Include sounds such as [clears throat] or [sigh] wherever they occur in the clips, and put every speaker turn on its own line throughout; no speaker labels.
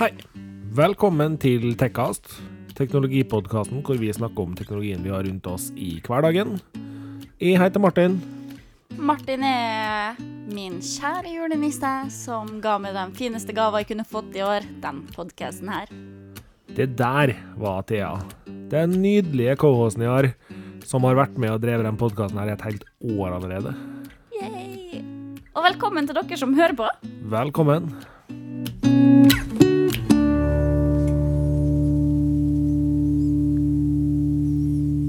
Hei. Velkommen til Tekkast, teknologipodkasten hvor vi snakker om teknologien vi har rundt oss i hverdagen. Jeg heter Martin.
Martin er min kjære julenisse som ga meg den fineste gava jeg kunne fått i år, den podkasten her.
Det der var Thea. Den nydelige cohosten jeg har, som har vært med og drevet den podkasten her i et helt år allerede.
Yay! Og velkommen til dere som hører på.
Velkommen.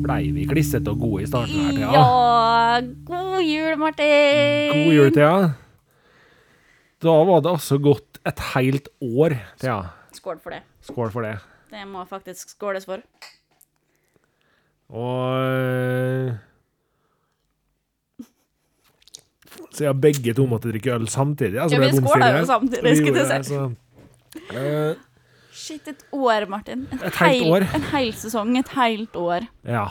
Blei vi klissete og gode i starten her, Thea?
Ja, god jul, Martin!
God jul, Thea. Da var det altså gått et helt år, Thea.
Skål for det.
Skål for det.
Det må faktisk skåles for.
Og Siden begge to måtte drikke øl samtidig. Altså
Ja,
ble
vi
det
skåla jo
bomstille.
samtidig,
Vi
skulle
gjorde
jeg
det, så- Eh,
Shit, et år, Martin. En
Et helt år.
En hel sesong, et helt år.
ja.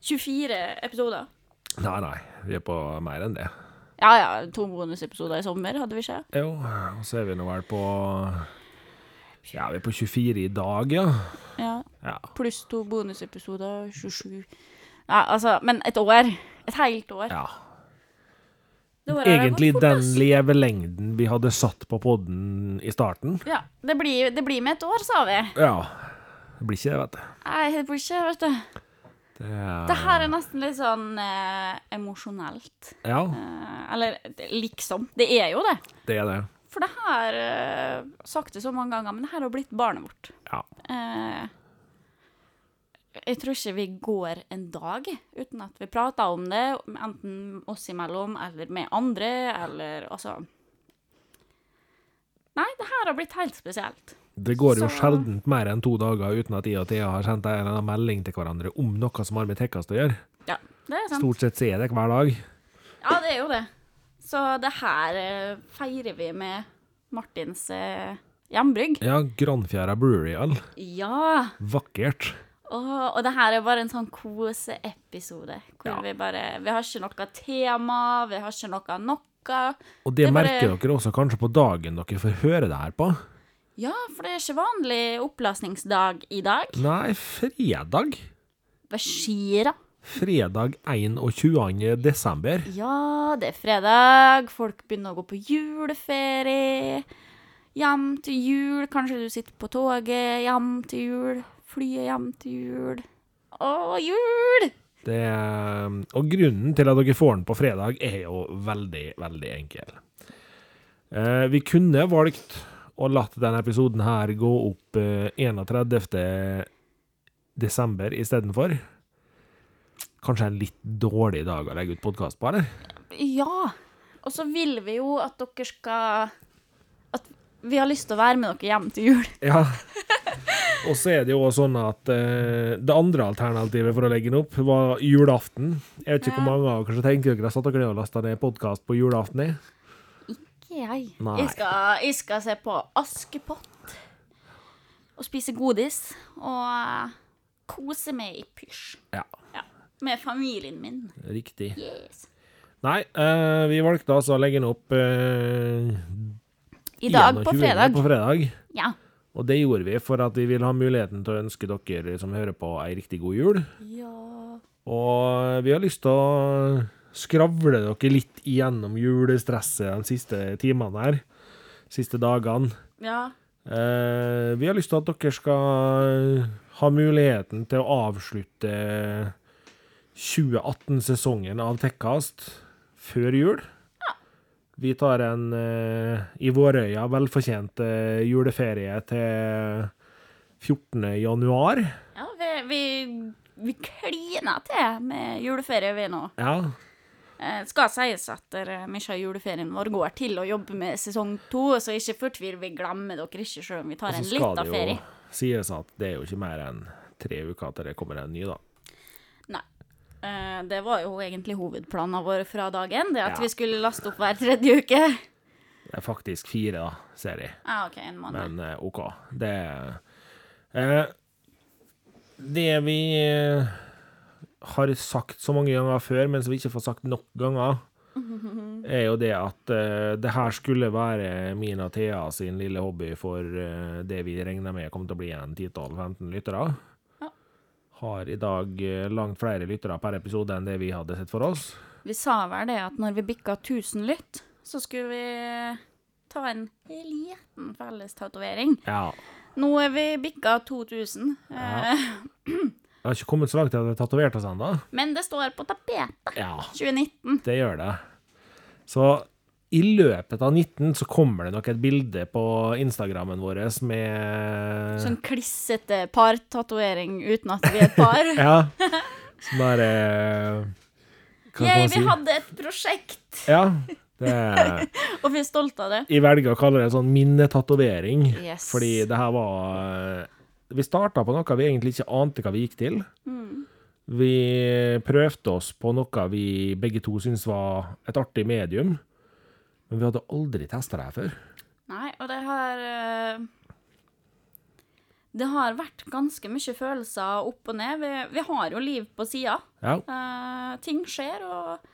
24 episoder.
Nei, nei. Vi er på mer enn det.
Ja ja, to bonusepisoder i sommer hadde vi ikke.
Jo, og så er vi nå vel på Ja, vi er på 24 i dag, ja.
Ja.
ja.
Pluss to bonusepisoder, 27 Nei, altså, men et år. Et helt år.
ja.
Det året har gått
Egentlig
fort,
den
ass.
levelengden vi hadde satt på podden i starten.
Ja, det blir, det blir med et år, sa vi.
Ja. Det blir ikke det, vet du.
Nei, det blir ikke, vet du.
Det er,
Det her er nesten litt sånn eh, emosjonelt.
Ja,
Eh, eller det- liksom. Det er jo det.
det er det.
For det her eh, Sagt det så mange ganger, men det her har blitt barnet vårt.
Ja.
Eh, jeg tror ikke vi går en dag uten at vi prater om det, enten oss imellom eller med andre, eller altså Nei, det her har blitt helt spesielt.
Det går jo
Så-
sjeldent mer enn to dager uten at jeg og Thea har sendt en eller annen melding til hverandre om noe som har med tekkast å gjøre.
Ja, det er sant.
Stort sett ser jeg det hver dag.
Ja, det er jo det. Så det her eh, feirer vi med Martins eh, hjembrygg.
Ja, Granfjæra Brewery Al.
Ja!
Vakkert.
Og, og det her er bare en sånn koseepisode. Hvor
Ja.
vi bare Vi har ikke noe tema, vi har ikke noe noe.
Og det,
Det er bare-
merker dere også kanskje på dagen dere får høre det her på.
Ja, for det er ikke vanlig opplastningsdag i dag.
Nei, fredag.
Hva skjer da?
Fredag 21. desember.
Ja, det er fredag, folk begynner å gå på juleferie. Hjem til jul, kanskje du sitter på toget. Hjem til jul, flyet hjem til jul. Å, jul!
Det, eh, og grunnen til at dere får den på fredag, er jo veldig, veldig enkel. Eh, vi kunne valgt å latt denne episoden her gå opp eh, 31. desember istedenfor. Kanskje en litt dårlig dag å legge ut podkast på, eller?
Ja. Og så vil vi jo at dere skal At vi har lyst til å være med dere hjem til jul.
Ja. [laughs] Og så er det jo også sånn at eh, det andre alternativet for å legge den opp, var julaften. Jeg vet ikke hvor
Ja.
mange av dere som tenker dere har satt dere ned og lasta ned podkast på julaften. i.
Jeg.
Nei.
Jeg, skal, jeg skal se på Askepott og spise godis og eh, kose meg i pysj.
Ja,
Ja. Med familien min.
riktig.
Yes.
Nei, eh, vi valgte altså å legge den opp eh,
I dag, på
21.
fredag.
på fredag.
Ja.
Og det gjorde vi for at vi vil ha muligheten til å ønske dere som hører på, ei riktig god jul. Og eh, vi har lyst til å skravle dere litt igjennom julestresset de siste timene her. Siste dagene.
Ja.
Eh, vi har lyst til at dere skal eh, ha muligheten til å avslutte 2018-sesongen av Tekkast før jul. Vi tar en eh, i vårøya velfortjent eh, juleferie til 14. januar.
ja vi, vi, vi kliner til med juleferie, vi nå.
Ja.
Eh, skal sies at eh, mye av juleferien vår går til å jobbe med sesong to, så ikke fortvil, vi glemmer dere ikke selv om vi
Og
tar
så
en
skal
liten
det jo
ferie.
sies at det er jo ikke mer enn tre uker til det kommer en ny, da.
Nei. Eh, det var jo egentlig hovedplanen vår fra dag én, det at
Ja.
vi skulle laste opp hver tredje uke. [laughs]
Det er faktisk fire, da, ser jeg.
Ja, Ah, OK, en måned.
Men eh, OK. Det eh, Det vi eh, har sagt så mange ganger før, men som vi ikke får sagt nok ganger, er jo det at eh, det her skulle være min og Thea sin lille hobby for eh, det vi regner med kommer til å bli en 10-12-15 lyttere.
Ja.
Har i dag eh, langt flere lyttere per episode enn det vi hadde sett for oss.
Vi sa vel det at når vi bikka 1000 lytt, så skulle vi ta en liten fellestatovering.
Ja.
Nå er vi bikka 2000, eh,
Jeg har ikke kommet så langt til at vi har tatovert oss ennå.
men det står på tapetet.
Ja,
2019.
det gjør det. Så i løpet av 19 så kommer det nok et bilde på Instagrammen vår med
Sånn klissete partatovering uten at vi er et par.
[laughs] Ja. Som bare Hva skal
Yay,
man
vi
si?
hadde et prosjekt,
Ja. Det er
og vi er stolte av det.
Jeg velger å kalle det en sånn minnetatovering.
Yes.
Fordi det her var eh, Vi starta på noe vi egentlig ikke ante hva vi gikk til.
Mm.
Vi prøvde oss på noe vi begge to syntes var et artig medium. Men vi hadde aldri testa det her før.
Nei, og det har eh, Det har vært ganske mye følelser opp og ned. Vi, vi har jo liv på sida.
Ja.
Eh, ting skjer, og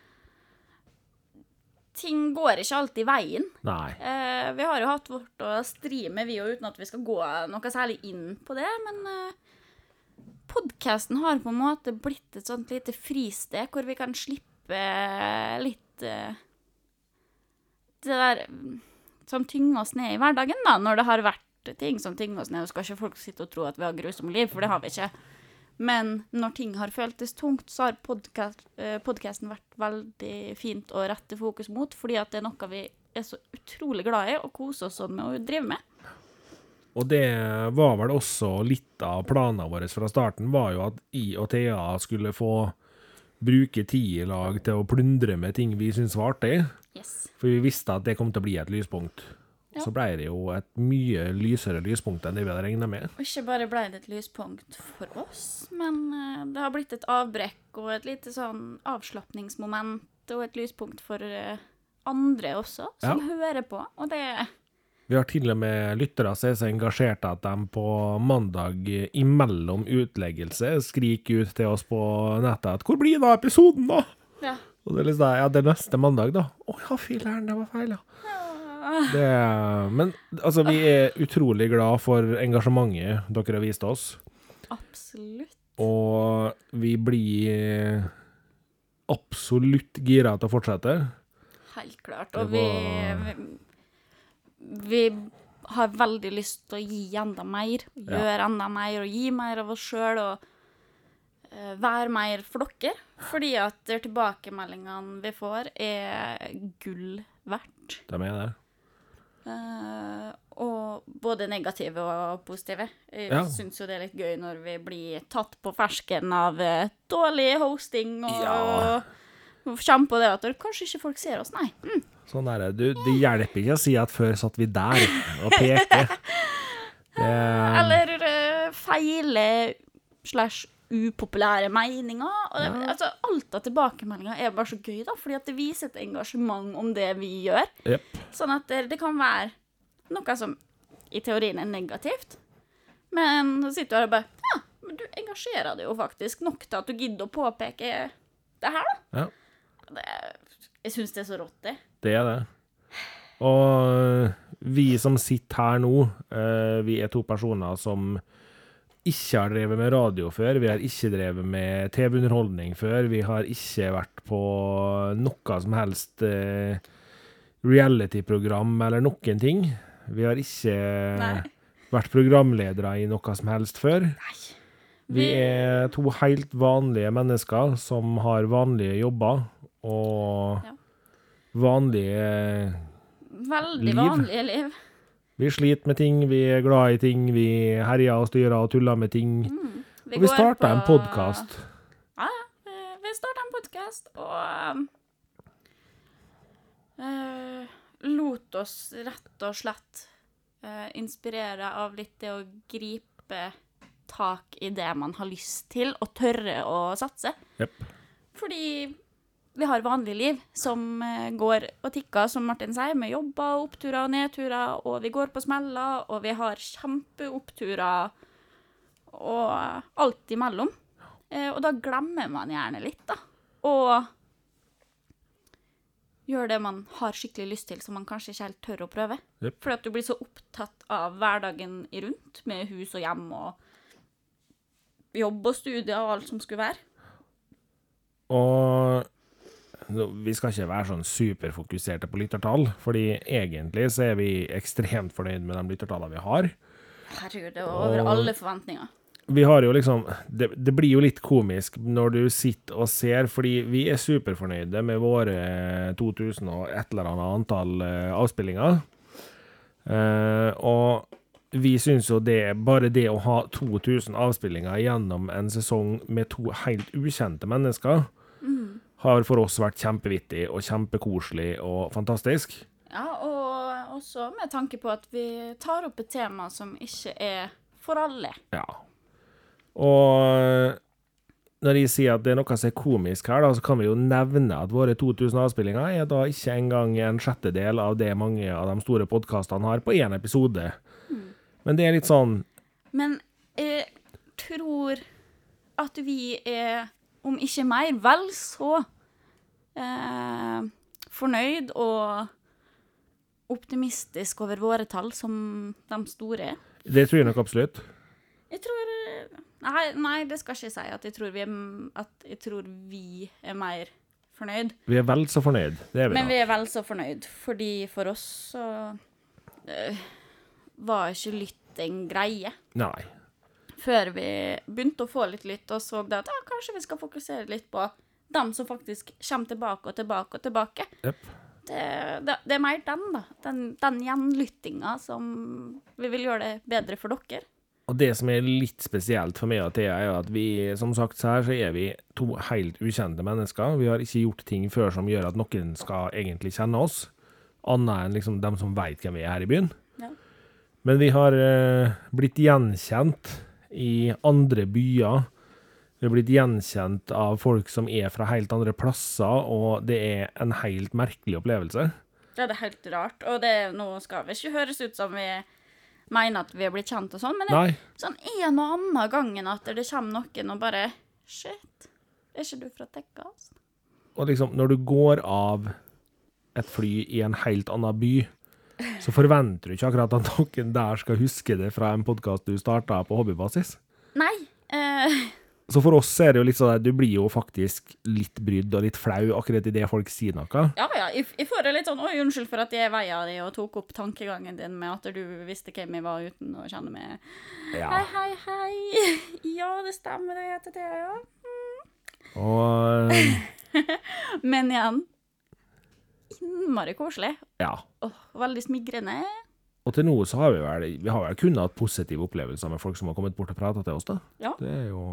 ting går ikke alltid veien.
Nei.
Eh, vi har jo hatt vårt å stri med, vi òg, uten at vi skal gå noe særlig inn på det. Men uh, podkasten har på en måte blitt et sånt lite fristed hvor vi kan slippe litt eh, det der mm, som tynger oss ned i hverdagen, da, når det har vært ting som tynger oss ned. Og skal ikke folk sitte og tro at vi har grusomme liv, for det har vi ikke. Men når ting har føltes tungt, så har podkasten vært veldig fint å rette fokus mot, fordi at det er noe vi er så utrolig glad i og koser oss sånn med å drive med.
Og det var vel også litt av planene våre fra starten, var jo at I og Thea skulle få bruke tid i lag til å plundre med ting vi syntes var artig.
Yes.
For vi visste at det kom til å bli et lyspunkt. Og Så ble det jo et mye lysere lyspunkt enn det vi hadde regna med.
Og ikke bare ble det et lyspunkt for oss, men eh, det har blitt et avbrekk og et lite sånn avslapningsmoment og et lyspunkt for eh, andre også, som hører på. Og det
Vi har til og med lyttere som er så engasjerte at de på mandag eh, imellom utleggelse skriker ut til oss på nettet at 'Hvor blir det av episoden, da?'
Ja.
Og det er litt sånn, ja, det er neste mandag, da. Å ja, filler'n, det var feil, ja. Det, er- men altså, vi er utrolig glad for engasjementet dere har vist oss.
Absolutt.
Og vi blir absolutt gira til å fortsette.
Helt klart.
Det
Og vi,
var-
vi Vi har veldig lyst til å gi enda mer, og
Ja.
gjøre enda mer og gi mer av oss sjøl og eh, være mer for dere. Fordi at de tilbakemeldingene vi får, er gull verdt.
De er det.
Eh, og både negative og positive. Jeg
Ja.
syns jo det er litt gøy når vi blir tatt på fersken av eh, dårlig hosting og,
Ja.
og kjenne på det at kanskje ikke folk ser oss, nei.
Sånn er det. Du, det hjelper ikke å si at før satt vi der og pekte. Det,
Eller eh, feile slash upopulære meninger. Og det, altså, alt av tilbakemeldinger er bare så gøy, da, fordi at det viser et engasjement om det vi gjør.
Jep.
Sånn at det, det kan være noe som i teorien er negativt, men så sitter du her og bare Ja, men du engasjerer deg jo faktisk nok til at du gidder å påpeke det her, da.
Ja,
Jeg syns det er så rått, det.
det er det. Og vi som sitter her nå, eh, vi er to personer som ikke har drevet med radio før. Vi har ikke drevet med TV-underholdning før. Vi har ikke vært på noe som helst eh, reality-program eller noen ting. Vi har ikke
Nei.
vært programledere i noe som helst før.
Nei.
Vi er to helt vanlige mennesker som har vanlige jobber og
Ja.
vanlige
Veldig
Liv.
vanlige liv.
Vi sliter med ting, vi er glad i ting, vi herjer og styrer og tuller med ting. og vi
Mm, går
starta en
på-
podkast.
Ja, ja. Eh, Vi- Vi starta en podkast og um, eh, lot oss rett og slett eh, inspirere av litt det å gripe tak i det man har lyst til, og tørre å satse.
Jep.
Fordi vi har vanlig liv som eh, går og tikker, som Martin sier, med jobber, oppturer og nedturer, og vi går på smeller, og vi har kjempeoppturer og alt imellom. Eh, Og da glemmer man gjerne litt, da. Og gjøre det man har skikkelig lyst til, som man kanskje ikke helt tør å prøve.
Jepp.
Fordi at du blir så opptatt av hverdagen i rundt, med hus og hjem og jobb og studier og alt som skulle være.
Og nå, vi skal ikke være sånn superfokuserte på lyttertall, fordi egentlig så er vi ekstremt fornøyd med de lyttertallene vi har.
Herregud, det var over alle forventninger.
Vi har jo liksom det, det blir jo litt komisk når du sitter og ser, fordi vi er superfornøyde med våre 2000 og et eller annet antall eh, avspillinger. Eh, og vi syns jo det Bare det å ha 2000 avspillinger gjennom en sesong med to helt ukjente mennesker, har for oss vært kjempevittig og kjempekoselig og fantastisk.
Ja, og også med tanke på at vi tar opp et tema som ikke er for alle.
Ja. Og når jeg sier at det er noe som er komisk her, da, så kan vi jo nevne at våre 2000 avspillinger er da ikke engang en sjettedel av det mange av de store podkastene har på én episode. Men det er litt sånn
Men jeg tror at vi er, om ikke mer, vel så eh, fornøyd og optimistisk over våre tall som de store er.
Det tror jeg nok absolutt.
Jeg tror Nei, nei det skal ikke jeg si at jeg tror vi er, at jeg tror vi er mer fornøyd.
Vi er vel så fornøyd. Det er vi nok.
Men vi er vel så fornøyd, fordi for oss så eh, var ikke lytt en greie.
Nei.
Før vi begynte å få litt lytt, og så det at ah, kanskje vi skal fokusere litt på dem som faktisk kommer tilbake og tilbake og tilbake.
Jepp.
Det, det, det er mer den, da. Den, den gjenlyttinga som vi vil gjøre det bedre for dere.
Og det som er litt spesielt for meg og Thea, er jo at vi, som sagt så her, så er vi to helt ukjente mennesker. Vi har ikke gjort ting før som gjør at noen skal egentlig kjenne oss, annet enn liksom dem som veit hvem vi er her i byen.
Ja.
Men vi har eh, blitt gjenkjent i andre byer. Vi har blitt gjenkjent av folk som er fra helt andre plasser, og det er en helt merkelig opplevelse.
Ja, det er helt rart. Og det, nå skal vi ikke høres ut som vi mener at vi er blitt kjent og sånn, men det,
Nei,
sånn en og annen gangen at det kommer noen og bare Shit, er ikke du fra Tekkas?
og liksom, når du går av et fly i en helt annen by, så forventer du ikke akkurat at noen der skal huske det fra en podkast du starta på hobbybasis.
Nei. Eh, [laughs]
Så for oss er det jo litt sånn at du blir jo faktisk litt brydd og litt flau akkurat idet folk sier noe.
ja, ja, jeg, jeg får det litt sånn Oi, unnskyld for at jeg er veia di og tok opp tankegangen din med at du visste hvem jeg var uten å kjenne meg. Hei,
Ja.
hei, hei. [laughs] Ja, det stemmer, det heter Thea, ja.
Og
Men igjen Innmari koselig.
ja.
Åh, veldig smigrende.
Og til nå så har vi vel Vi har vel kun hatt positive opplevelser med folk som har kommet bort og prata til oss, da.
Ja.
Det er jo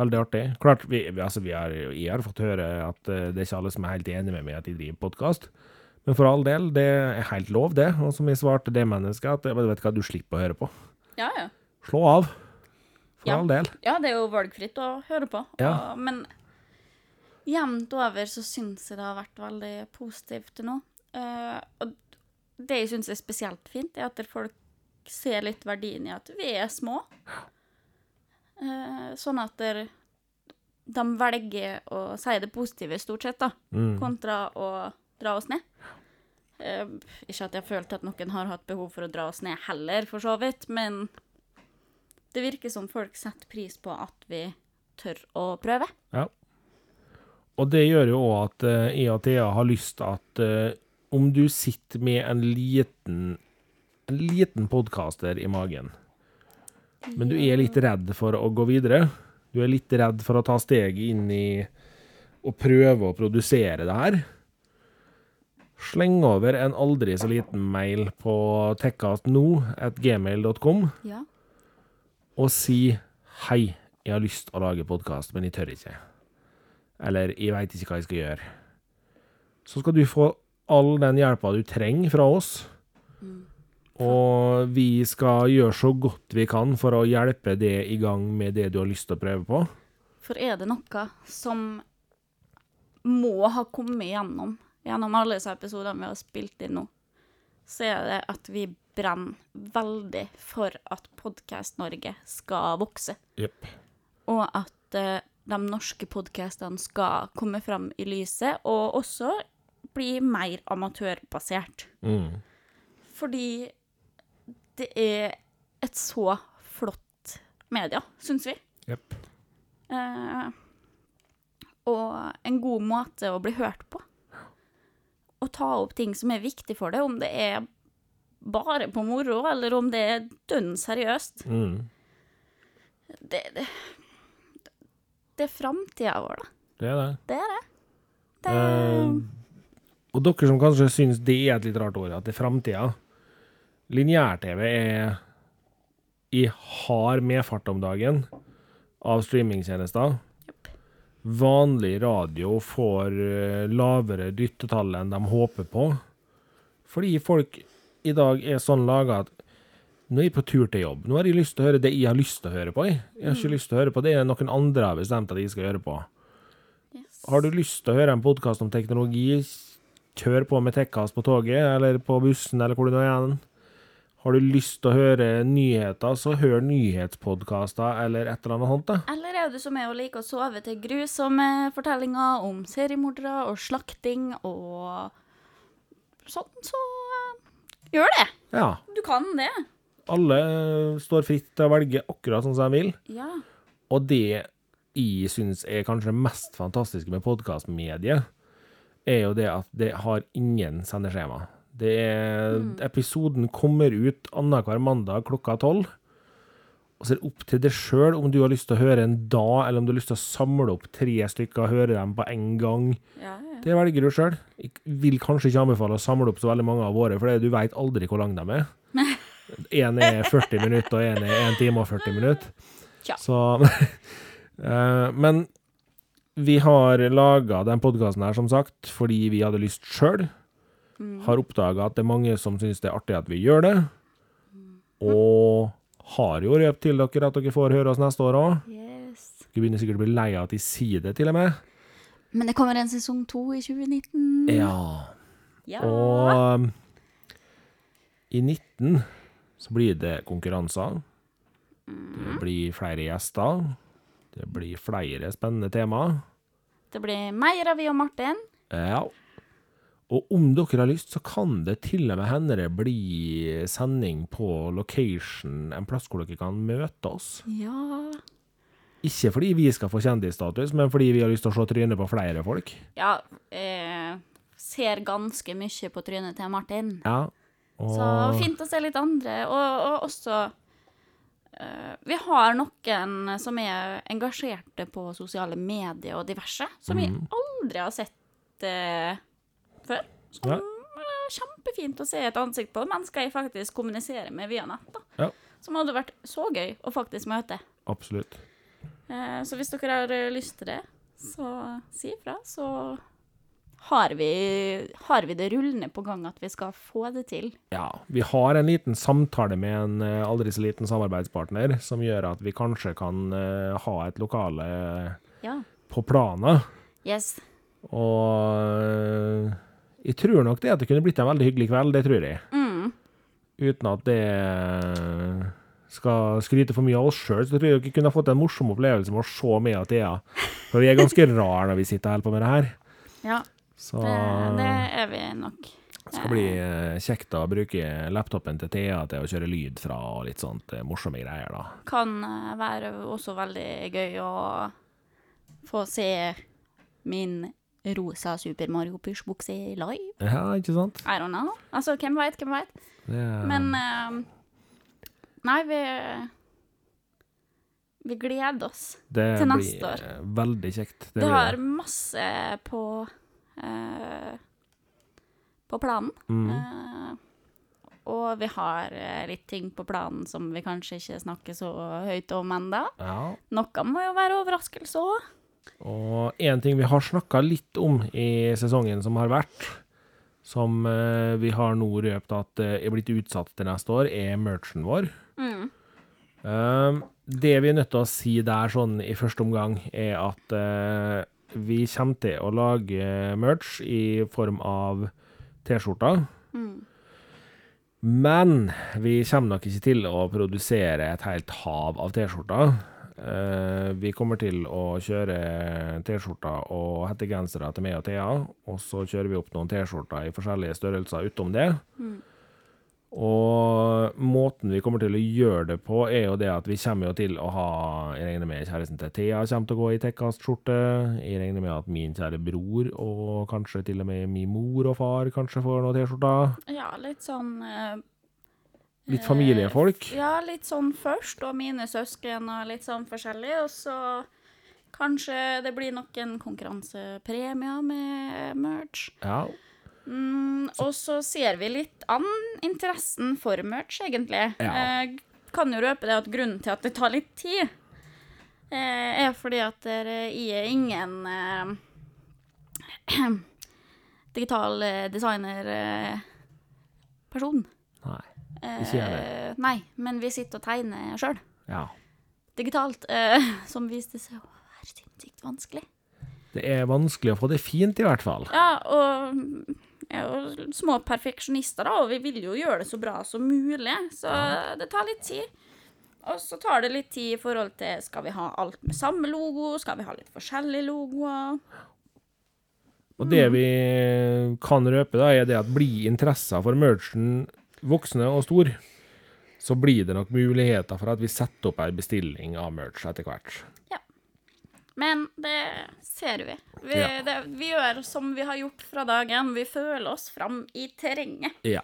veldig artig. Klart, vi, vi, altså, vi har, jeg har fått høre at eh, det er ikke alle som er helt enig med meg at jeg driver podkast. Men for all del, det er helt lov, det. Og som jeg svarte det mennesket, at eh, vet du hva, du slipper å høre på.
Ja, ja.
Slå av. For
Ja.
all del.
Ja, det er jo valgfritt å høre på.
Ja.
Og, men jevnt over så syns jeg det har vært veldig positivt til nå. Eh, og det jeg syns er spesielt fint, er at folk ser litt verdien i at vi er små. Eh, sånn at der, de velger å si det positive stort sett, da,
Mm.
kontra å dra oss ned. Eh, ikke at jeg følte at noen har hatt behov for å dra oss ned heller, for så vidt, men det virker som folk setter pris på at vi tør å prøve.
Ja. Og det gjør jo òg at eh, jeg og Thea har lyst til at eh, om du sitter med en liten, en liten podkaster i magen, men du er litt redd for å gå videre, du er litt redd for å ta steget inn i å prøve å produsere det her, sleng over en aldri så liten mail på tekkastno.gmail.com
Ja.
og si hei, jeg har lyst å lage podkast, men jeg tør ikke. Eller jeg veit ikke hva jeg skal gjøre. Så skal du få all den hjelpa du trenger fra oss. Og vi skal gjøre så godt vi kan for å hjelpe det i gang med det du har lyst til å prøve på.
For er det noe som må ha kommet gjennom, gjennom alle disse episodene vi har spilt inn nå, så er det at vi brenner veldig for at Podkast Norge skal vokse. Og at eh, de norske podkastene skal komme fram i lyset, og også bli mer amatørbasert.
Mm.
Fordi det er et så flott media, syns vi.
Jepp.
Eh, og en god måte å bli hørt på. Å ta opp ting som er viktig for deg, om det er bare på moro, eller om det er dønn seriøst.
Mm.
Det, det, det er framtida vår, da.
Det er det.
Det er det. det
Eh, og dere som kanskje syns det er et litt rart ord, at det er framtida Lineær-TV er i hard medfart om dagen av streamingtjenester. Vanlig radio får eh, lavere dyttetall enn de håper på. Fordi folk i dag er sånn laga at nå er jeg på tur til jobb. Nå har jeg lyst til å høre det jeg har lyst til å høre på. Jeg, jeg har
Mm.
ikke lyst til å høre på det noen andre har bestemt at jeg skal høre på.
yes.
Har du lyst til å høre en podkast om teknologi, kjør på med Tekkast på toget eller på bussen eller hvor du nå er. hen. Har du lyst til å høre nyheter, så hør nyhetspodkaster eller et eller annet sånt. da.
Eller er du som jeg og liker å sove til grusomme fortellinger om seriemordere og slakting og sånn, så eh, gjør det.
Ja.
Du kan det.
Alle eh, står fritt til å velge akkurat sånn som de vil.
Ja.
Og det jeg syns er kanskje det mest fantastiske med podkastmediet, er jo det at det har ingen sendeskjema. Det er, Episoden kommer ut annenhver mandag klokka tolv. Og så er det opp til deg sjøl om du har lyst til å høre en da, eller om du har lyst til å samle opp tre stykker og høre dem på en gang.
ja, ja.
Det velger du sjøl. Vil kanskje ikke anbefale å samle opp så veldig mange av våre, for det- du veit aldri hvor lang de er. Én er 40 minutter, og én er 1 time og 40 minutter.
Tja.
Så [laughs] eh, Men vi har laga den podkasten her, som sagt, fordi vi hadde lyst sjøl. Har oppdaga at det er mange som syns det er artig at vi gjør det. Og har jo røpt til dere at dere får høre oss neste år òg.
Yes.
Dere begynner sikkert å bli lei av at de sier det, til og med.
Men det kommer en sesong to i 2019.
Ja.
Ja.
Og um, i 19 så blir det konkurranser. Det blir flere gjester. Det blir flere spennende temaer.
Det blir mer av vi og Martin.
Ja. Og om dere har lyst, så kan det til og med hende det blir sending på location, en plass hvor dere kan møte oss.
Ja.
Ikke fordi vi skal få kjendisstatus, men fordi vi har lyst til å se trynet på flere folk.
Ja, eh, ser ganske mye på trynet til Martin.
Ja. Og
Så fint å se litt andre, og, og også eh, Vi har noen som er engasjerte på sosiale medier og diverse, som vi
Mm.
aldri har sett eh, før. Som
Ja.
er kjempefint å se et ansikt på, mennesker jeg faktisk kommuniserer med via nett. da.
Ja.
Som hadde vært så gøy å faktisk møte.
Absolutt.
Eh, så hvis dere har eh, lyst til det, så si ifra, så har vi, har vi det rullende på gang at vi skal få det til.
Ja, vi har en liten samtale med en eh, aldri så liten samarbeidspartner, som gjør at vi kanskje kan eh, ha et lokale
Ja.
på plana.
Yes.
Og eh, jeg tror nok det at det kunne blitt en veldig hyggelig kveld, det tror jeg.
Mm.
Uten at det eh, skal skryte for mye av oss sjøl, så tror jeg dere kunne fått en morsom opplevelse med å se meg og Thea. For vi er ganske [laughs] rare når vi sitter og holder på med det her.
Ja,
Så
det, det er vi nok.
Det skal bli eh, kjekt å bruke laptopen til Thea til å kjøre lyd fra og litt sånt eh, morsomme greier, da.
Kan eh, være også veldig gøy å få se min rosa Super Mario Push-bukse live.
Ja, ikke sant?
I don't know. Altså, hvem veit, hvem veit.
Det er-
Men eh, Nei, vi Vi gleder oss.
det
til
blir,
neste år.
eh, Veldig kjekt.
Det
blir
har masse på eh, På planen.
Mm.
Eh, og vi har eh, litt ting på planen som vi kanskje ikke snakker så høyt om ennå.
Ja.
Noe må jo være overraskelse òg.
Og én ting vi har snakka litt om i sesongen som har vært, som eh, vi har nå røpt at eh, er blitt utsatt til neste år, er merchen vår. Um, det vi er nødt til å si der sånn i første omgang, er at eh, vi kommer til å lage eh, merch i form av T-skjorter. Men vi kommer nok ikke til å produsere et helt hav av T-skjorter. Eh, vi kommer til å kjøre T-skjorter og hettegensere til meg og Thea, og så kjører vi opp noen T-skjorter i forskjellige størrelser utom det. Og måten vi kommer til å gjøre det på, er jo det at vi kommer jo til å ha Jeg regner med kjæresten til Thea kommer til å gå i tekkastskjorte. Jeg regner med at min kjære bror, og kanskje til og med min mor og far, kanskje får noen T-skjorter.
Ja, litt sånn eh,
Litt familiefolk.
Ja, litt sånn først, og mine søsken og litt sånn forskjellig. Og så kanskje det blir noen konkurransepremier med merch.
Ja.
Mm, og så ser vi litt an interessen for merch, egentlig.
Ja.
Eh, kan jo røpe det at grunnen til at det tar litt tid, eh, er fordi at dere jeg er ingen eh, [clears throat] digital eh, designer eh, person.
Nei. Ikke jeg heller.
Eh, Nei, men vi sitter og tegner sjøl,
Ja.
digitalt, eh, [laughs] som viste seg å være sinnssykt vanskelig.
Det er vanskelig å få det fint, i hvert fall.
Ja, og vi er jo små perfeksjonister, da, og vi vil jo gjøre det så bra som mulig, så det tar litt tid. Og så tar det litt tid i forhold til skal vi ha alt med samme logo, skal vi ha litt forskjellige logoer?
Og det vi kan røpe, da, er det at blir interessen for merchen voksende og stor, så blir det nok muligheter for at vi setter opp ei bestilling av merch etter hvert.
Men det ser vi. Vi,
Ja.
det, vi gjør som vi har gjort fra dagen. Vi føler oss fram i terrenget.
Ja.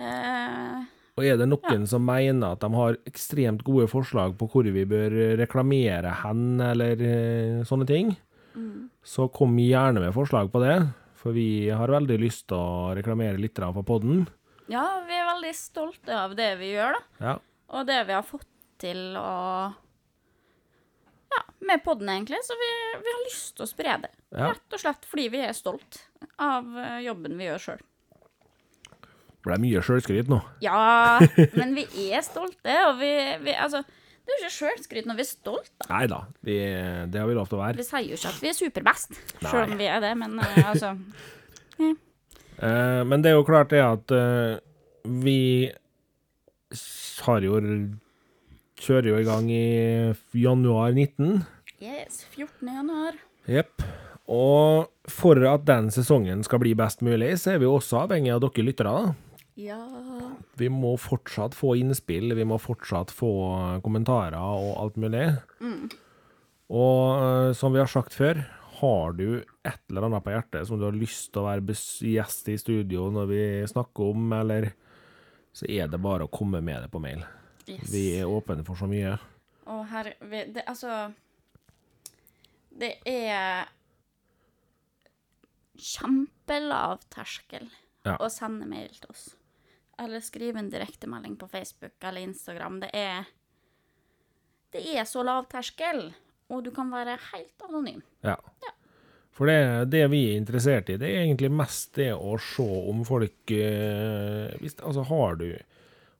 Eh,
Og er det noen som mener at de har ekstremt gode forslag på hvor vi bør reklamere hen, eller eh, sånne ting, så kom gjerne med forslag på det. For vi har veldig lyst til å reklamere litt grann for podden.
ja, vi er veldig stolte av det vi gjør, da.
Ja.
Og det vi har fått til å Ja, med podden, egentlig. Så vi, vi har lyst til å spre det.
Ja.
Rett og slett fordi vi er stolt av eh, jobben vi gjør sjøl.
Det ble mye sjølskryt nå. [laughs]
Ja, men vi er stolte, og vi, vi Altså, det er jo ikke sjølskryt når vi er stolt, da.
Nei da, vi, det har vi lov til å være.
Vi sier jo ikke at vi er superbest, sjøl
Nei.
om vi er det, men eh,
[laughs]
altså
Eh, men det er jo klart det at eh, vi s- har jo Kjører jo i gang i f- januar 19.
Yes, 14. januar.
Jepp. Og for at den sesongen skal bli best mulig, så er vi jo også avhengig av dere lyttere. da.
Ja
Vi må fortsatt få innspill, vi må fortsatt få eh, kommentarer og alt mulig. Og eh, som vi har sagt før, har du et eller annet på hjertet som du har lyst til å være bes- gjest i studio når vi snakker om, eller så er det bare å komme med det på mail.
yes.
Vi er åpne for så mye.
Og her vi- det, Altså Det er kjempelav terskel
Ja.
å sende mail til oss. Eller skrive en direktemelding på Facebook eller Instagram. Det er Det er så lav terskel, og du kan være helt anonym.
Ja. For det, det vi er interessert i, det er egentlig mest det å se om folk eh, hvis, Altså, har du,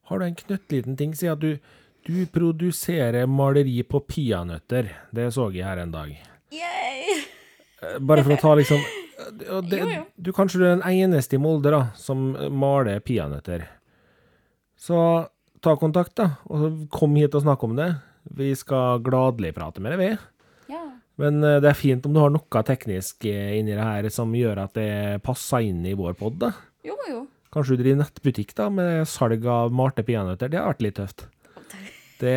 har du en knøttliten ting Si at du, du produserer maleri på peanøtter. Det så jeg her en dag.
Yay!
Eh, Bare for å ta liksom og det,
Jo, jo.
Du Kanskje du er den eneste i Molde da, som eh, maler peanøtter. Så ta kontakt, da, og kom hit og snakk om det. Vi skal gladelig prate med deg, vi.
Ja.
Men eh, det er fint om du har noe teknisk eh, inni det her som gjør at det passer inn i vår pod.
Jo, jo.
Kanskje du driver nettbutikk da, med salg av malte peanøtter. Det har vært litt tøft. Det,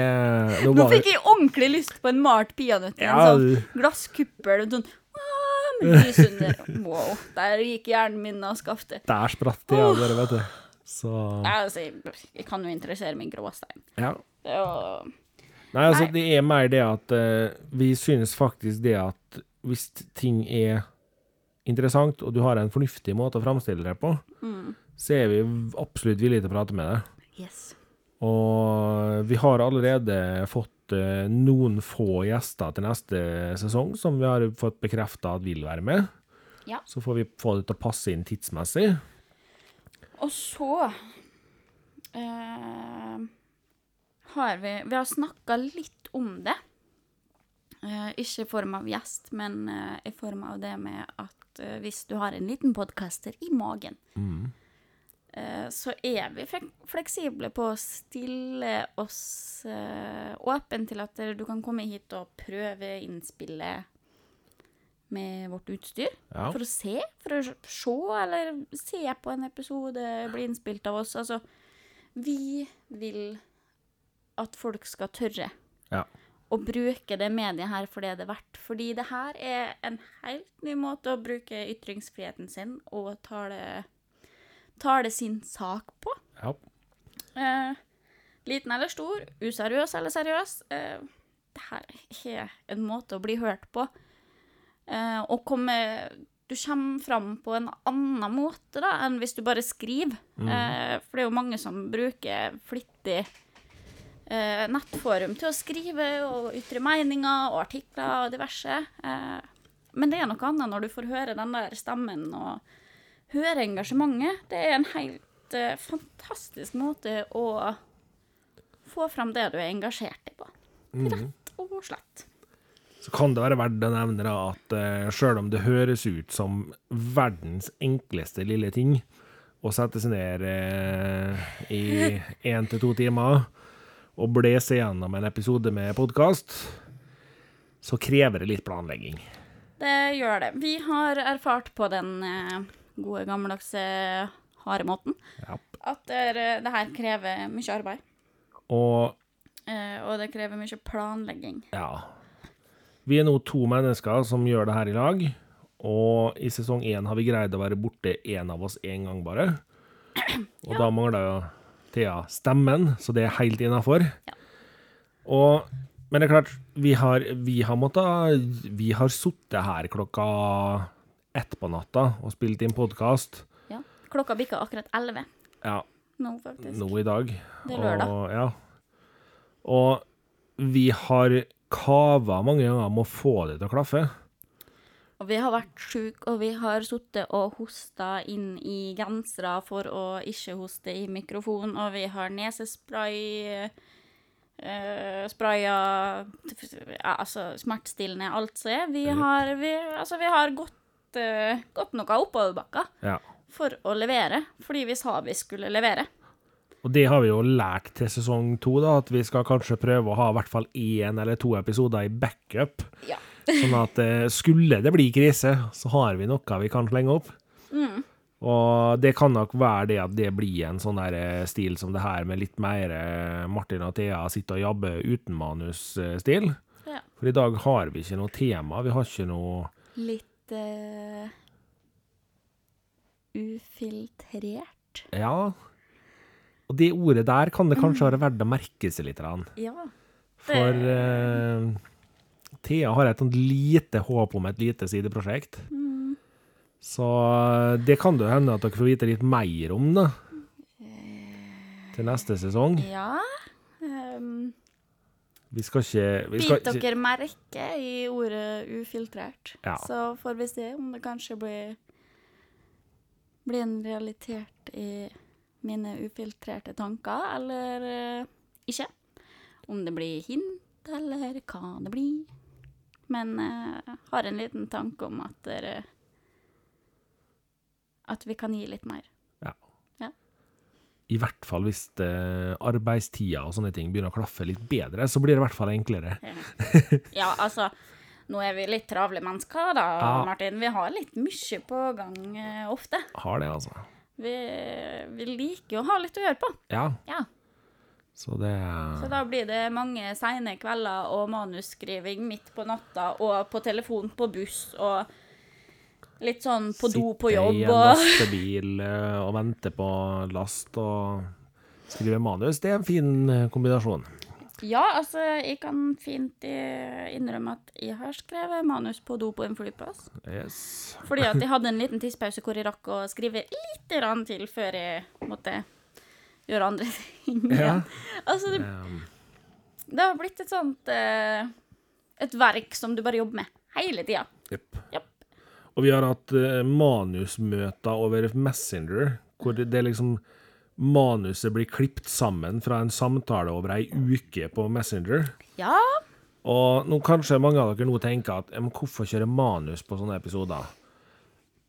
nå
Nå
var
fikk jeg ordentlig lyst på en malt peanøtt i en
Ja,
sånn
du-
glasskuppel. Sånn, «Ah, med lys under. Wow, der gikk hjernen min av skaftet.
der spratt det av dere, vet du. Så
Ja, altså, jeg, jeg kan jo interessere meg i gråstein.
ja.
Det er jo
Nei, altså, det er mer det at eh, vi synes faktisk det at hvis ting er interessant, og du har en fornuftig måte å framstille det på, så er vi absolutt villige til å prate med deg.
Yes.
Og vi har allerede fått eh, noen få gjester til neste sesong som vi har fått bekrefta at vil være med.
Ja.
Så får vi få det til å passe inn tidsmessig.
Og så eh, har vi Vi har snakka litt om det. Eh, ikke i form av gjest, men eh, i form av det med at eh, hvis du har en liten podcaster i magen, eh, så er vi flek fleksible på å stille oss eh, åpen til at eh, du kan komme hit og prøve innspillet med vårt utstyr.
Ja.
For å se, for å se, eller se på en episode bli innspilt av oss. Altså, vi vil at folk skal tørre
Ja.
å bruke det mediet her for det det er verdt. Fordi det her er en helt ny måte å bruke ytringsfriheten sin og tale, tale sin sak på.
ja.
Eh, liten eller stor, useriøs eller seriøs. Eh, det her er en måte å bli hørt på. Eh, og komme Du kommer fram på en annen måte da, enn hvis du bare skriver. Eh, for det er jo mange som bruker flittig eh, nettforum til å skrive og ytre meninger og artikler og diverse. Eh, men det er noe annet når du får høre den der stemmen og høre engasjementet. Det er en helt eh, fantastisk måte å få fram det du er engasjert i på. Rett og slett.
Så kan det være verdt å nevne da, at eh, sjøl om det høres ut som verdens enkleste lille ting å sette seg ned eh, i
[laughs]
én til to timer og blese gjennom en episode med podkast, så krever det litt planlegging.
Det gjør det. Vi har erfart på den eh, gode, gammeldagse haremåten
Ja.
at det, er- eh, det her krever mye arbeid.
Og
eh, Og det krever mye planlegging.
Ja. Vi er nå to mennesker som gjør det her i lag, og i sesong én har vi greid å være borte én av oss én gang bare. Og da mangler jo Thea stemmen, så det er helt innafor. Og Men det er klart, vi har, vi har måttet Vi har sittet her klokka ett på natta og spilt inn podkast.
Ja. Klokka bikka akkurat 11
Ja,
nå, faktisk.
nå i dag.
Det er lørdag.
Og, ja. og vi har kava mange ganger om å få det til å klaffe.
Og vi har vært sjuke, og vi har sittet og hosta inn i gensere for å ikke hoste i mikrofon, og vi har nesespray, uh, spraya ja, Altså smertestillende, alt som er. Vi har, vi, altså, vi har gått, eh, gått noe oppoverbakka
Ja.
for å levere, fordi vi sa vi skulle levere.
Og det har vi jo lært til sesong to, da, at vi skal kanskje prøve å ha i hvert fall én eller to episoder i backup.
Ja.
Sånn at eh, skulle det bli krise, så har vi noe vi kan slenge opp.
Mm.
Og det kan nok være det at det blir en sånn der eh, stil som det her med litt mer eh, Martin og Thea sitter og jabber uten eh, manus-stil.
ja.
For i dag har vi ikke noe tema. Vi har ikke noe
Litt eh, ufiltrert.
Ja. Og det ordet der kan det kanskje være verdt å merke seg litt. grann.
Ja.
For eh, Thea har et sånt lite håp om et lite sideprosjekt. Så eh, det kan det jo hende at dere får vite litt mer om, da. Til neste sesong.
Ja. ehm,
Vi skal ikke vi skal
Bit
ikke-
dere merke i ordet ufiltrert,
Ja.
så får vi se om det kanskje blir, blir en realitet i mine ufiltrerte tanker, eller eh, ikke. Om det blir hint, eller hva det blir. Men jeg har en liten tanke om at dere At vi kan gi litt mer.
Ja.
Ja.
I hvert fall hvis eh, arbeidstida og sånne ting begynner å klaffe litt bedre, så blir det i hvert fall enklere.
Ja, altså, nå er vi litt travle mennesker da,
Ja.
Martin. Vi har litt mye på gang eh, ofte.
Har det, altså.
Vi, vi liker jo å ha litt å gjøre på.
Ja,
Ja.
så det eh,
Så da blir det mange seine kvelder og manusskriving midt på natta og på telefon på buss og litt sånn på do på jobb
Sitte i en lastebil
og [laughs]
eh, og vente på last og skrive manus, det er en fin eh, kombinasjon.
Ja, altså, jeg kan fint eh, innrømme at jeg har skrevet manus på do på en flyplass.
Yes.
Fordi at jeg hadde en liten tidspause hvor jeg rakk å skrive litt grann til før jeg måtte gjøre andre ting.
Ja.
Altså, det,
Um,
det har blitt et sånt eh, Et verk som du bare jobber med hele tida.
jepp.
Japp.
Og vi har hatt eh, manusmøter over Messenger, hvor det er liksom Manuset blir klippet sammen fra en samtale over ei uke på Messenger.
Ja.
Og nå kanskje mange av dere nå tenker at "Ja, men hvorfor kjøre manus på sånne episoder?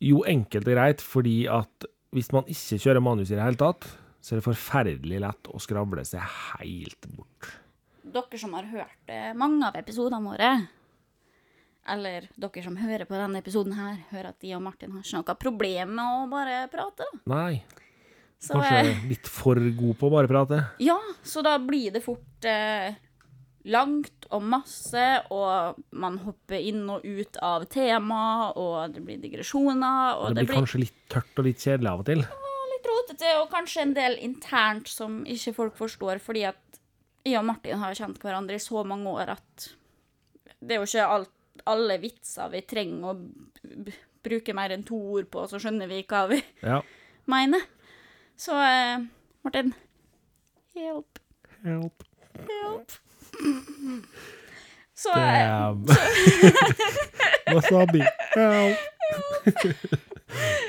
Jo, enkelt og greit, fordi at hvis man ikke kjører manus i det hele tatt, så er det forferdelig lett å skravle seg helt bort.
Dere som har hørt eh, mange av episodene våre, eller dere som hører på denne episoden her, hører at de og Martin har ikke noe problem med å bare prate, da.
Nei,
Så, eh,
kanskje litt for god på å bare prate.
ja, så da blir det fort eh, langt og masse, og man hopper inn og ut av tema, og det blir digresjoner, og
Det blir kanskje litt tørt og litt kjedelig av og til.
litt rotete, og kanskje en del internt som ikke folk forstår, fordi at jeg og Martin har kjent hverandre i så mange år at det er jo ikke alt, alle vitser vi trenger å b b bruke mer enn to ord på, så skjønner vi hva vi [laughs]
Ja.
mener. Så eh, Martin, hjelp,
Help.
hjelp. Så eh,
Damn. [laughs] Wasabi. Help.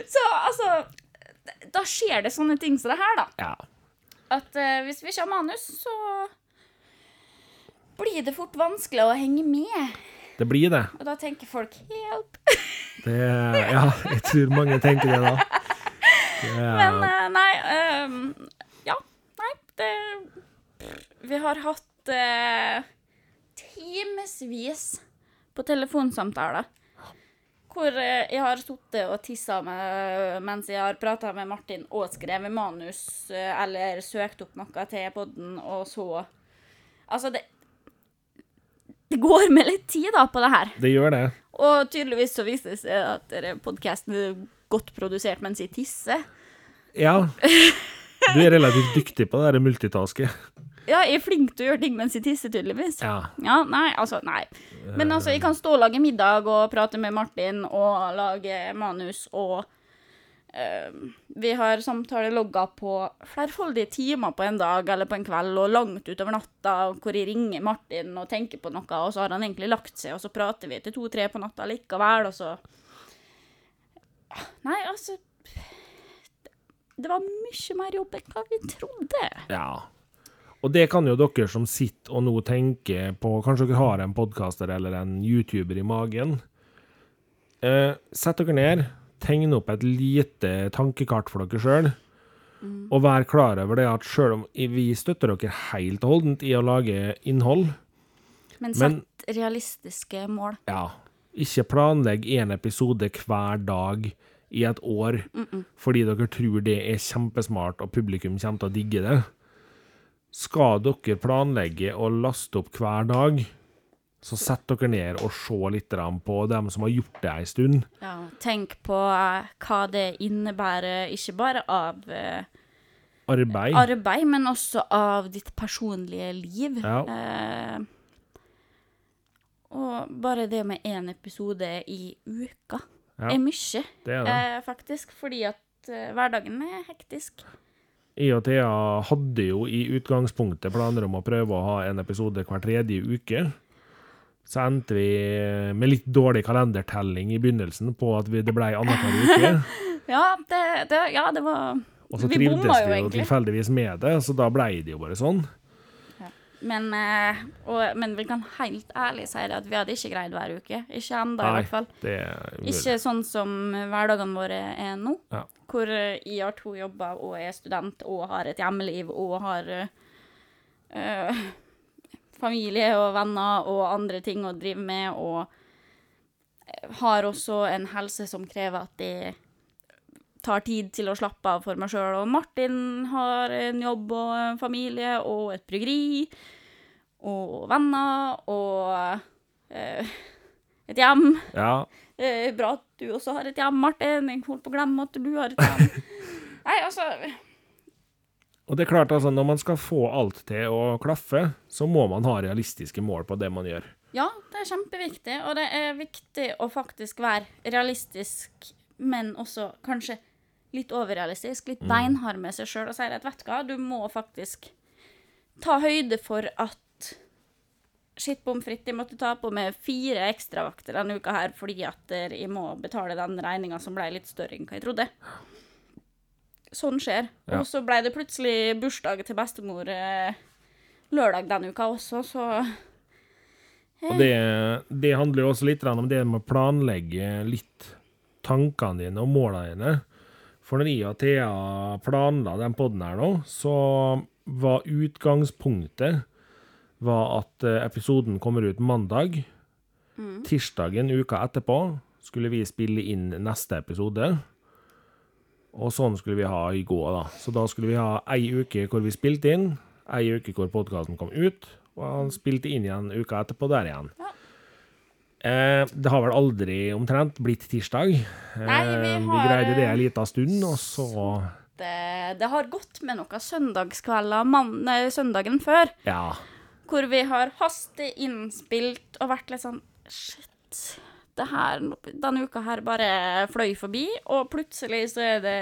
Så altså Da skjer det sånne ting som det her, da.
Ja.
At eh, hvis vi ikke har manus, så blir det fort vanskelig å henge med.
Det blir det.
Og da tenker folk 'hjelp'.
det. Ja, jeg tror mange tenker det [laughs] da. Det
Men
er-
eh, nei ehm, Ja, nei, det Vi har hatt uh, timevis på telefonsamtaler. Hvor eh, jeg har sittet og tissa med, mens jeg har prata med Martin og skrevet manus eh, eller søkt opp noe til podden, og så Altså, det Det går med litt tid, da, på det her.
det gjør det.
Og tydeligvis så viser det seg at podkasten er godt produsert mens jeg tisser.
Ja. Du er relativt dyktig på det der multitasket.
Ja, jeg er flink til å gjøre ting mens jeg tisser, tydeligvis. Ja.
Ja.
nei, altså, nei. Men altså, jeg kan stå og lage middag og prate med Martin og lage manus og eh, Vi har samtalelogger på flerfoldige timer på en dag eller på en kveld og langt utover natta, hvor jeg ringer Martin og tenker på noe, og så har han egentlig lagt seg, og så prater vi til to-tre på natta likevel, og så Nei, altså det- Det var mye mer jobb enn hva vi trodde.
Ja. Og det kan jo dere som sitter og nå tenker på Kanskje dere har en podkaster eller en YouTuber i magen. Eh, sett dere ned, tegn opp et lite tankekart for dere sjøl, og vær klar over det at sjøl om vi støtter dere helt og holdent i å lage innhold,
Men
Men-
sett realistiske mål.
Ja. Ikke planlegg én episode hver dag i et år fordi dere tror det er kjempesmart og publikum kommer til å digge det. Skal dere planlegge å laste opp hver dag, så sett dere ned og se litt grann på dem som har gjort det ei stund.
Ja, tenk på eh, hva det innebærer, ikke bare av eh,
Arbeid.
arbeid, men også av ditt personlige liv.
Ja.
Eh, og bare det med én episode i uka
Ja.
er mye,
det er det.
eh, faktisk. Fordi at eh, hverdagen er hektisk.
Jeg og Thea hadde jo i utgangspunktet planer om å prøve å ha en episode hver tredje uke. Så endte vi med litt dårlig kalendertelling i begynnelsen på at vi, det ble annenhver
[laughs]
uke.
Ja, det, det, ja, det var
Og så
Vi
trivdes
bomma jo
vi jo
egentlig.
tilfeldigvis med det, så da blei det jo bare sånn.
Men, eh, og, men vi kan helt ærlig si det at vi hadde ikke greid hver uke. Ikke ennå, i
Nei,
hvert fall.
det er umulig.
Ikke sånn som hverdagene våre er nå,
Ja.
hvor eh, jeg har to jobber og er student og har et hjemmeliv og har eh, eh, familie og venner og andre ting å drive med, og eh, har også en helse som krever at jeg tar tid til å slappe av for meg sjøl. Og Martin har en jobb og en familie og et bryggeri og venner og eh, et hjem.
Ja,
Eh, bra at du også har et hjem, Martin. Jeg holdt på å glemme at du har et hjem. Nei, altså
og det er klart, altså, når man skal få alt til å klaffe, så må man ha realistiske mål på det man gjør.
Ja, det er kjempeviktig, og det er viktig å faktisk være realistisk, men også kanskje litt overrealistisk, litt beinhard med seg sjøl og si at vet du hva, du må faktisk ta høyde for at Shit, bom fritt, jeg måtte ta på meg fire ekstravakter denne uka her fordi at eh, jeg må betale den regninga som ble litt større enn hva jeg trodde. Sånn skjer.
Ja.
Og så ble det plutselig bursdag til bestemor eh, lørdag denne uka også, så
Og det, det handler jo også litt grann om det med å planlegge litt tankene dine og målene dine. For når jeg og Thea planla den poden her nå, så var utgangspunktet var at eh, episoden kommer ut mandag. Tirsdagen uka etterpå skulle vi spille inn neste episode. Og sånn skulle vi ha i går, da. Så da skulle vi ha ei uke hvor vi spilte inn, ei uke hvor podkasten kom ut, og han spilte inn igjen uka etterpå der igjen.
Ja.
Eh, det har vel aldri omtrent blitt tirsdag. Eh,
Nei, vi
vi
har,
greide det
eh,
ei lita stund, og så
Det, det har gått med noen søndagskvelder mann, nei, søndagen før,
Ja.
hvor vi har hasteinnspilt og vært litt sånn Shit. Det her, denne uka her bare fløy forbi, og plutselig så er det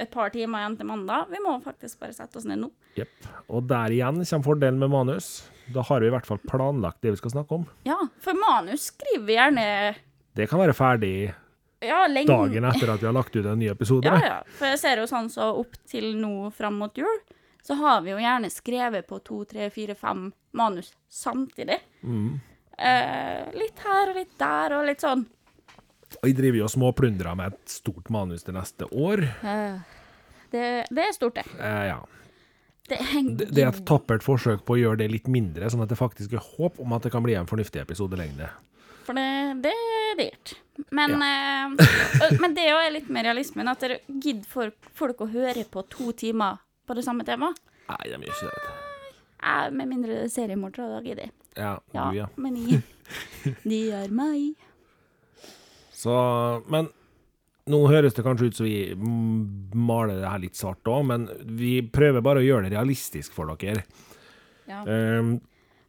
et par timer igjen til mandag. Vi må faktisk bare sette oss ned nå.
Jepp. Og der igjen kommer fordelen med manus. Da har vi i hvert fall planlagt det vi skal snakke om.
Ja, for manus skriver vi gjerne
Det kan være ferdig
ja, lenge.
dagen etter at vi har lagt ut en ny episode.
Ja, ja. For jeg ser jo sånn så opp til nå fram mot jul, så har vi jo gjerne skrevet på to, tre, fire, fem manus samtidig.
Mm.
Eh, litt her og litt der og litt sånn.
Og jeg driver jo og småplundrer med et stort manus til neste år.
Eh, Det, det er stort, det.
Eh, ja.
Det er,
Det det er et tappert forsøk på å gjøre det litt mindre, sånn at det faktisk er håp om at det kan bli en fornuftig episodelengde.
for det, det er dyrt. Men, eh, og- men det er jo litt med realismen, at dere gidder for folk å høre på to timer på det samme temaet.
Nei, de gjør ikke det.
Eh, med mindre det er seriemordere, da gidder jeg.
Ja,
Ja,
du, ja.
men jeg, de er meg.
Så, men nå høres det kanskje ut som vi mm, maler det her litt svart òg, men vi prøver bare å gjøre det realistisk for dere.
Ja.
Ehm,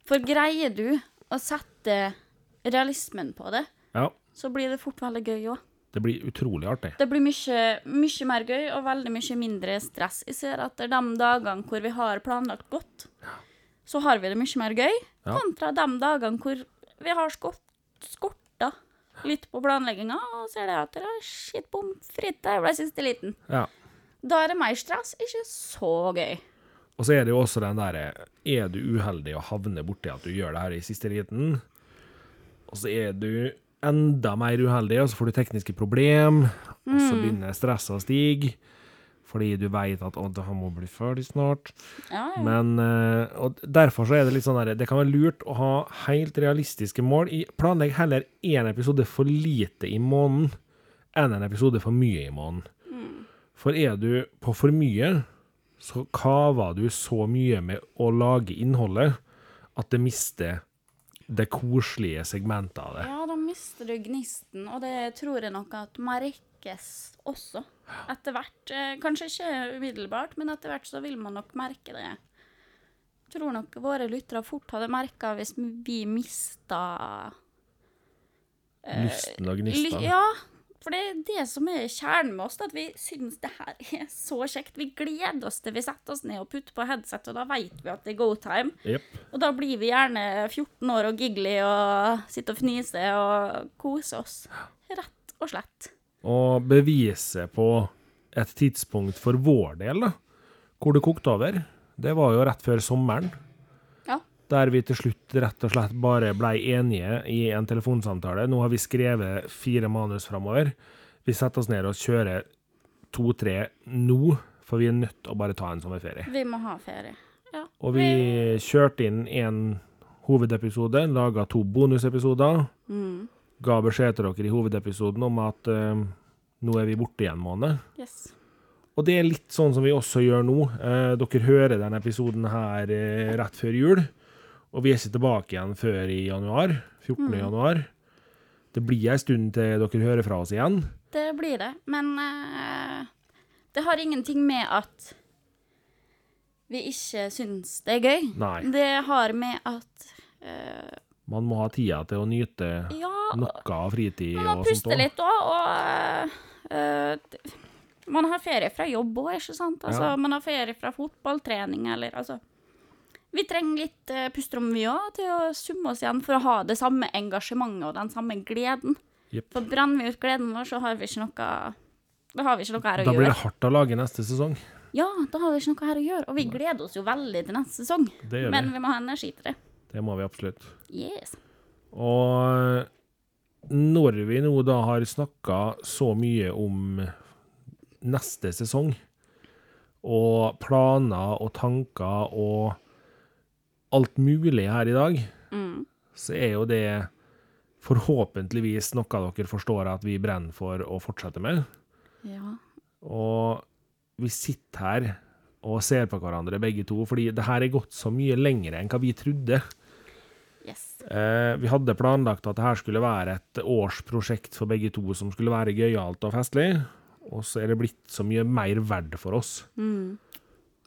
For greier du å sette realismen på det,
ja.
så blir det fort veldig gøy òg.
Det blir utrolig artig.
Det blir mye, mye mer gøy og veldig mye mindre stress. Jeg ser at de dagene hvor vi har planlagt godt, så har vi det mye mer gøy,
Ja.
kontra de dagene hvor vi har skott, skorta litt på planlegginga, og ser det at det er shit bom fritt, der ble siste liten.
Ja.
Da er det mer stress, ikke så gøy.
Og så er det jo også den derre Er du uheldig og havner borti at du gjør det her i siste liten, og så er du enda mer uheldig, og så får du tekniske problem, og så begynner stresset å stige. Fordi du veit at 'Å, det her må bli ferdig snart'.
Ja, ja.
Men, eh, og Derfor så er det litt sånn der, det kan være lurt å ha helt realistiske mål. I- Planlegg heller én episode for lite i måneden enn en episode for mye i måneden.
Mm.
For er du på for mye, så kaver du så mye med å lage innholdet at det mister det koselige segmentet av det.
Ja, da mister du gnisten, og det tror jeg nok at merkes også. Etter hvert. eh, Kanskje ikke umiddelbart, men etter hvert så vil man nok merke det. Tror nok våre lyttere fort hadde merka hvis vi mista
Lysten og
Eh, ly-
gnisten.
Ja, for det er det som er kjernen med oss, da, at vi syns det her er så kjekt. Vi gleder oss til vi setter oss ned og putter på headset, og da veit vi at det er go time.
Jepp.
Og da blir vi gjerne 14 år og giggly og sitter og fniser og koser oss. Rett og slett.
Og beviset på et tidspunkt for vår del, da, hvor det kokte over, det var jo rett før sommeren.
Ja.
Der vi til slutt rett og slett bare blei enige i en telefonsamtale. Nå har vi skrevet fire manus framover. Vi setter oss ned og kjører to-tre nå, for vi er nødt til å bare ta en sommerferie.
Vi må ha ferie. Ja.
Og vi kjørte inn en hovedepisode, laga to bonusepisoder. Ga beskjed til dere i hovedepisoden om at eh, nå er vi borte i en måned.
Yes.
Og det er litt sånn som vi også gjør nå. Eh, dere hører denne episoden her eh, rett før jul, og vi er ikke tilbake igjen før i januar. 14.
Mm.
januar. Det blir ei stund til dere hører fra oss igjen.
Det blir det. Men eh, det har ingenting med at vi ikke syns det er gøy.
Nei.
Det har med at eh,
Man må ha tida til å nyte
Ja,
noe av fritid
Man
og
må
sånt.
puste
også.
litt òg, og øh, d- Man har ferie fra jobb òg, ikke sant? Altså,
Ja.
Man har ferie fra fotballtrening eller altså Vi trenger litt uh, pusterom, vi òg, til å summe oss igjen for å ha det samme engasjementet og den samme gleden.
Jepp.
For brenner vi ut gleden vår, så har vi ikke noe da har vi ikke noe her å
Da blir
gjøre.
det hardt å lage neste sesong.
Ja, da har vi ikke noe her å gjøre. Og vi gleder oss jo veldig til neste sesong.
Det gjør
Men
vi.
vi må ha energi til det.
Det må vi absolutt.
Yes.
Og når vi nå da har snakka så mye om neste sesong. Og planer og tanker og alt mulig her i dag,
Mm.
så er jo det forhåpentligvis noe dere forstår at vi brenner for å fortsette med.
Ja.
Og vi sitter her og ser på hverandre begge to, fordi det her er gått så mye lenger enn hva vi trodde.
Yes.
Eh, vi hadde planlagt at det her skulle være et årsprosjekt for begge to som skulle være gøyalt og festlig, og så er det blitt så mye mer verdt for oss.
Mm.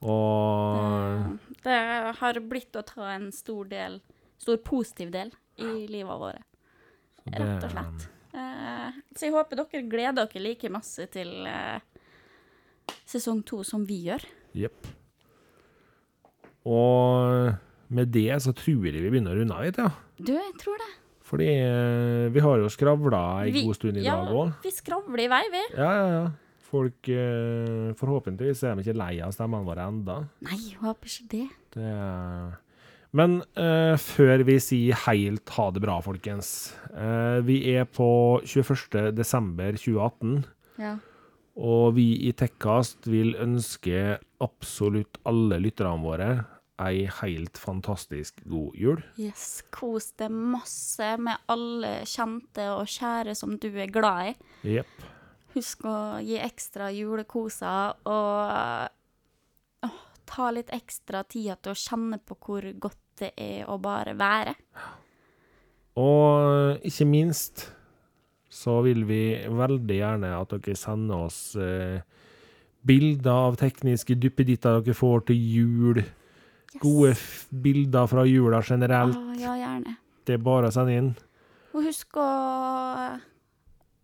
Og
Det har blitt å ta en stor del, stor positiv del, i livet vårt.
det-
Rett og slett. Eh, så jeg håper dere gleder dere like masse til eh, sesong to som vi gjør.
Jepp. Og med det så tror jeg vi begynner å runde av litt, ja.
Du, jeg tror det.
Fordi eh, vi har jo skravla ei
Vi-
god stund i
ja,
dag òg.
Vi skravler i vei, vi.
Ja, ja, ja. Folk eh, Forhåpentligvis er de ikke lei av stemmene våre enda.
Nei, jeg håper ikke det.
Det er... Men eh, før vi sier helt ha det bra, folkens eh, Vi er på 21.12.2018,
Ja.
og vi i Tekkast vil ønske absolutt alle lytterne våre ei helt fantastisk god jul.
Yes, kos deg masse med alle kjente og kjære som du er glad i.
Jepp.
Husk å gi ekstra julekoser og åh, ta litt ekstra tid til å kjenne på hvor godt det er å bare være.
Og eh, ikke minst så vil vi veldig gjerne at dere sender oss eh, bilder av tekniske duppeditter dere får til jul.
Yes.
Gode f bilder fra jula generelt.
Åh, ja, gjerne.
Det er bare å sende inn.
Og husk å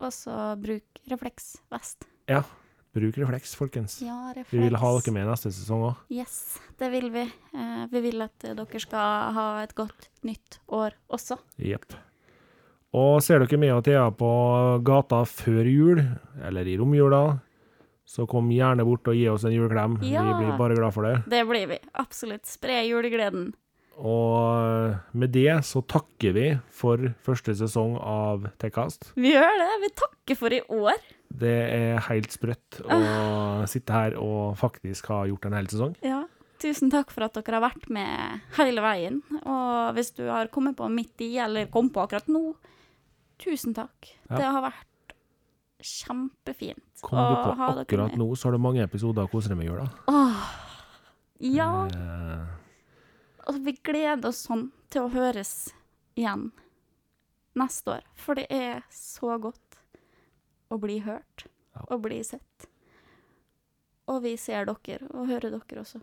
også bruke refleksvest.
Ja, bruk refleks, folkens.
Ja, refleks.
Vi vil ha dere med neste sesong òg.
Yes, det vil vi. Eh, vi vil at eh, dere skal ha et godt nytt år også.
Jepp. Og ser dere meg og Thea på gata før jul, eller i romjula, så kom gjerne bort og gi oss en juleklem. Vi
Ja.
blir bare glad for det.
Det blir vi. Absolutt. Spre julegleden.
Og med det så takker vi for første sesong av Tekkast.
Vi gjør det. Vi takker for i år.
Det er helt sprøtt å
Ah.
sitte her og faktisk ha gjort en hel sesong.
Ja. Tusen takk for at dere har vært med hele veien. Og hvis du har kommet på midt i, eller kom på akkurat nå, tusen takk.
Ja.
Det har vært kjempefint
Kom du på akkurat nå, så har du mange episoder å kose deg med i jula.
Åh. Ja.
Eh,
Og vi gleder oss sånn til å høres igjen neste år. For det er så godt å bli hørt
Ja.
og bli sett. Og vi ser dere og hører dere også.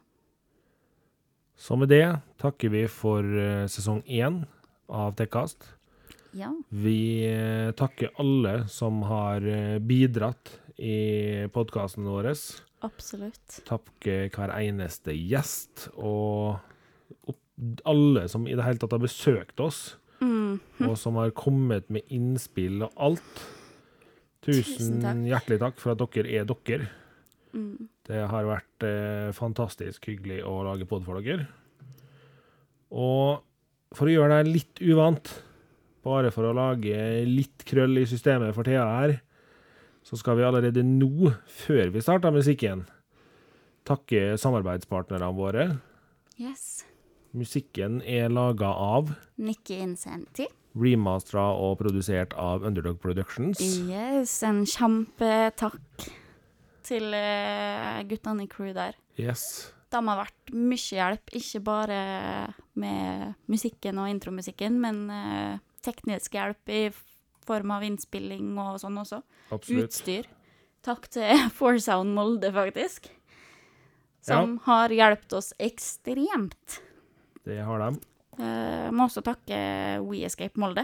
Så med det takker vi for eh, sesong én av Tekkast.
Ja.
Vi eh, takker alle som har eh, bidratt i podkasten vår.
Absolutt.
takke hver eneste gjest og opp- alle som i det hele tatt har besøkt oss,
Mm.
og som har kommet med innspill og alt. Tusen
Tusen takk.
hjertelig takk for at dere er dere.
Mm.
Det har vært eh, fantastisk hyggelig å lage pod for dere. Og for å gjøre deg litt uvant, bare for å lage litt krøll i systemet for Thea her, så skal vi allerede nå, før vi starter musikken, takke samarbeidspartnerne våre.
Yes.
Musikken er laga av,
Nikki Incenti.
remastera og produsert av Underdog
Mm.
Productions.
Yes, en kjempetakk til eh, guttene i crew der.
Yes.
De har vært mye hjelp, ikke bare med musikken og intromusikken, men eh, teknisk hjelp i f- form av innspilling og sånn også.
Absolutt.
Utstyr. Takk til [laughs] Foursound Molde, faktisk, som
Ja.
har hjulpet oss ekstremt.
Det har de.
Eh, må også takke We Escape Molde.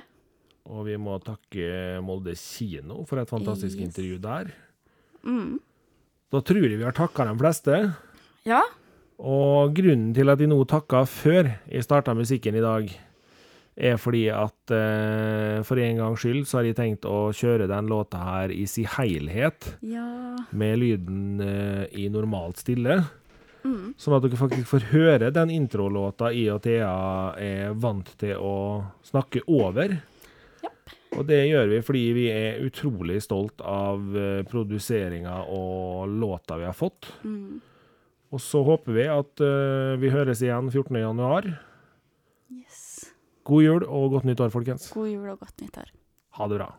Og vi må takke Molde kino for et fantastisk
Yes.
intervju der.
Mm.
Da tror jeg vi har takka de fleste.
Ja,
Og grunnen til at de nå takka før jeg starta musikken i dag, er fordi at eh, for en gangs skyld så har jeg tenkt å kjøre den låta her i sin helhet,
ja.
med lyden eh, i normalt stille. Sånn at dere faktisk får høre den introlåta jeg og Thea er vant til å snakke over.
Japp.
Og det gjør vi fordi vi er utrolig stolt av eh, produseringa og låta vi har fått. Og så håper vi at eh, vi høres igjen 14.1.
Yes.
God jul og godt nytt år, folkens.
God jul og godt nyttår.
Ha det bra.